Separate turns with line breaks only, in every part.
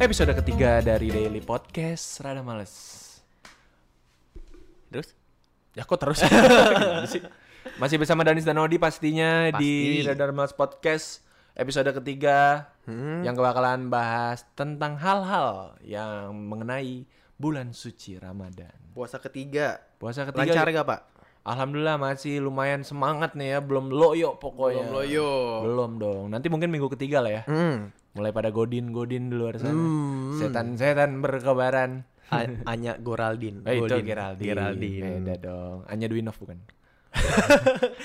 Episode ketiga dari Daily Podcast Rada Males
Terus?
Ya kok terus? Masih bersama Danis dan Odi pastinya di
Pasti.
Rada Males Podcast Episode ketiga Yang bakalan bahas tentang hal-hal Yang mengenai bulan suci Ramadan
Puasa ketiga.
Puasa ketiga
Lancar gak pak?
Alhamdulillah masih lumayan semangat nih ya Belum loyo
Oh, iya.
pokoknya
loyo.
Belum dong Nanti mungkin minggu ketiga lah ya
Hmm.
Mulai pada godin-godin di luar sana Hmm. Setan-setan berkebaran
A- Anya Goraldin.
Eh, itu
Goldin.
Geraldine.
Geraldine. Eh,
Beda dong. Anya Dwinov bukan.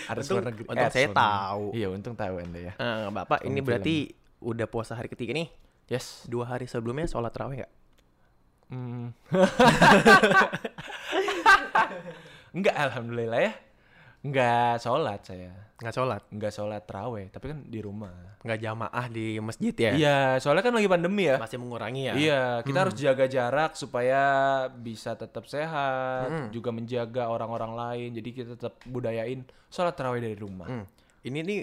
Harus
Untung-
luar negeri.
untung
Eh,
saya
luar negeri.
tahu.
Iya, untung tahu Anda ya.
Eh, Bapak ini
Film.
berarti udah puasa hari ketiga nih.
Yes.
Dua hari sebelumnya sholat terawih nggak?
Mm.
Hmm.
Enggak, alhamdulillah ya. Enggak sholat saya.
Nggak sholat.
Enggak sholat terawih, tapi kan di rumah.
Nggak jamaah di masjid ya?
Iya, soalnya kan lagi pandemi ya.
Masih mengurangi ya?
Iya, kita harus jaga jarak supaya bisa tetap sehat,
Hmm.
juga menjaga orang-orang lain. Jadi kita tetap budayain sholat terawih dari rumah.
Hmm. Ini nih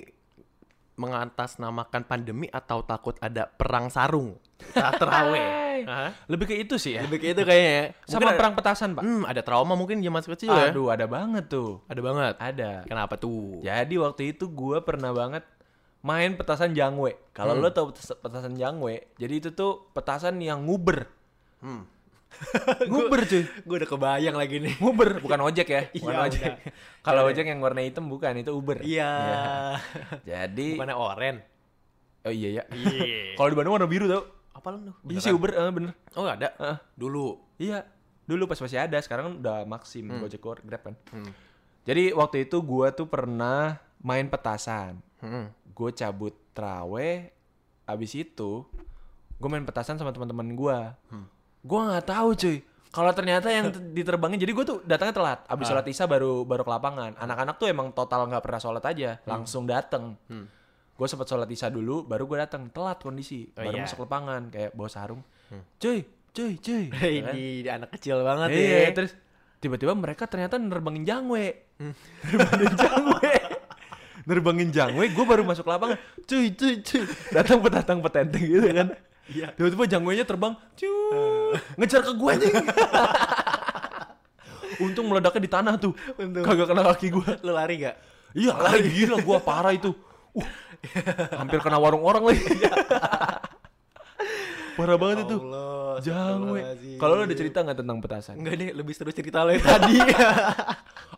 mengatasnamakan pandemi atau takut ada perang sarung saat terawih? Hah?
Lebih ke itu sih ya.
Lebih ke itu kayaknya. ya.
Sama
Mungkin ada-
perang petasan, Pak.
Hmm, ada trauma mungkin zaman kecil ya?
Aduh, Ya. ada banget tuh.
Ada banget.
Ada.
Kenapa tuh?
Jadi waktu itu gua pernah banget main petasan jangwe. Kalau
Hmm.
lo tau petas- petasan jangwe, jadi itu tuh petasan yang nguber.
Hmm.
nguber cuy.
Gue udah kebayang lagi nih.
Nguber, bukan ojek ya. Bukan
Iya,
ojek.
udah.
Kalau ojek yang warna hitam bukan, itu Uber.
Iya.
Jadi,
Bukannya oren.
oh iya ya.
Iya.
Kalau di Bandung warna biru tau.
Apa lu tuh?
Iya sih Uber, eh, bener.
Oh ada.
Heeh.
Dulu.
Iya, dulu pas masih ada, sekarang kan udah maksim
Hmm.
Gojek Gojek Grab kan. Jadi waktu itu gua tuh pernah main petasan. Gue cabut trawe, abis itu gue main petasan sama teman-teman gua.
Hmm.
Gua nggak tahu cuy. Kalau ternyata yang t- diterbangin, jadi gue tuh datangnya telat.
Ah.
Abis sholat isya baru baru ke lapangan. Anak-anak tuh emang total nggak pernah sholat aja,
Hmm.
langsung dateng. Gue sempet sholat isya dulu, baru gue datang telat kondisi,
Oh,
baru
iya.
masuk lapangan kayak bawa sarung. Cuy, cuy, cuy. gitu kan.
Ini anak kecil Iya, banget
Iya,
ya.
terus tiba-tiba mereka ternyata nerbangin jangwe.
Hmm.
nerbangin jangwe. nerbangin jangwe, gue baru masuk lapangan. Cuy, cuy, cuy. Datang petatang petenteng gitu kan.
Iya.
Tiba-tiba jangwenya terbang, cuy. Ngejar ke gue anjing. Untung meledaknya di tanah tuh.
Untung.
Kagak kena kaki gue.
Lu lari gak?
Iya, lari gila gue parah itu. Uh, hampir kena warung orang lagi. parah banget itu.
Allah.
Jangwe. Kalau lo ada cerita nggak tentang petasan?
Enggak deh, lebih seru cerita lo yang tadi.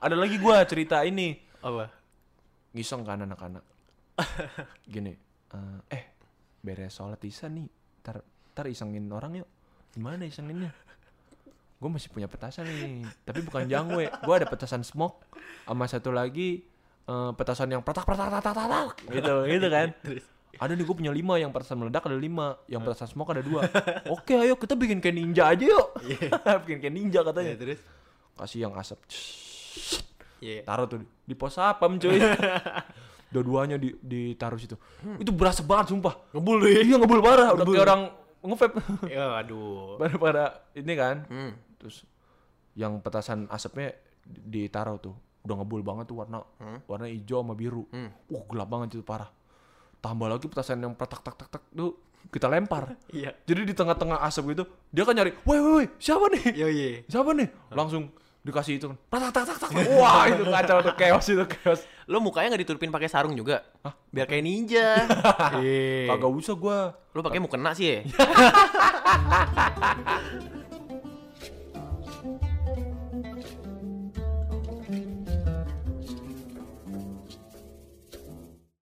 Ada lagi gua cerita ini
Apa?
ngiseng kan anak-anak. Gini, eh, eh beres sholat isya nih, ntar, ntar isengin orang yuk. Gimana isenginnya? Gue masih punya petasan nih, tapi bukan jangwe. Gue ada petasan smoke, sama satu lagi eh, petasan yang pratak pratak pratak pratak, pratak gitu, gitu kan.
Terus.
Ada nih gue punya lima, yang petasan meledak ada lima, yang petasan smoke ada dua. Oke ayo kita bikin kayak ninja aja yuk. bikin kayak ninja
Ya,
katanya.
terus.
Kasih yang asap.
Iya.
taruh tuh di- di pos sapam cuy dua-duanya di, ditaruh situ itu berasa banget sumpah
Ngebul lu
iya ngebul parah udah kayak orang ngevape
Ya, aduh.
pada pada ini kan
Hmm.
terus yang petasan asapnya di- ditaruh tuh udah ngebul banget tuh warna warna hijau sama biru
Hmm.
uh gelap banget itu parah tambah lagi petasan yang petak tak tak tak tuh kita lempar
Iya.
jadi di tengah-tengah asap gitu dia kan nyari woi woi woi siapa nih
Yo iya. ye.
siapa nih langsung dikasih itu kan tak tak tak tak wah itu kacau tuh chaos itu chaos
Lo mukanya gak ditutupin pakai sarung juga?
Hah?
Biar kayak ninja. Iya.
kagak usah gua
Lo pakai mukena sih ya?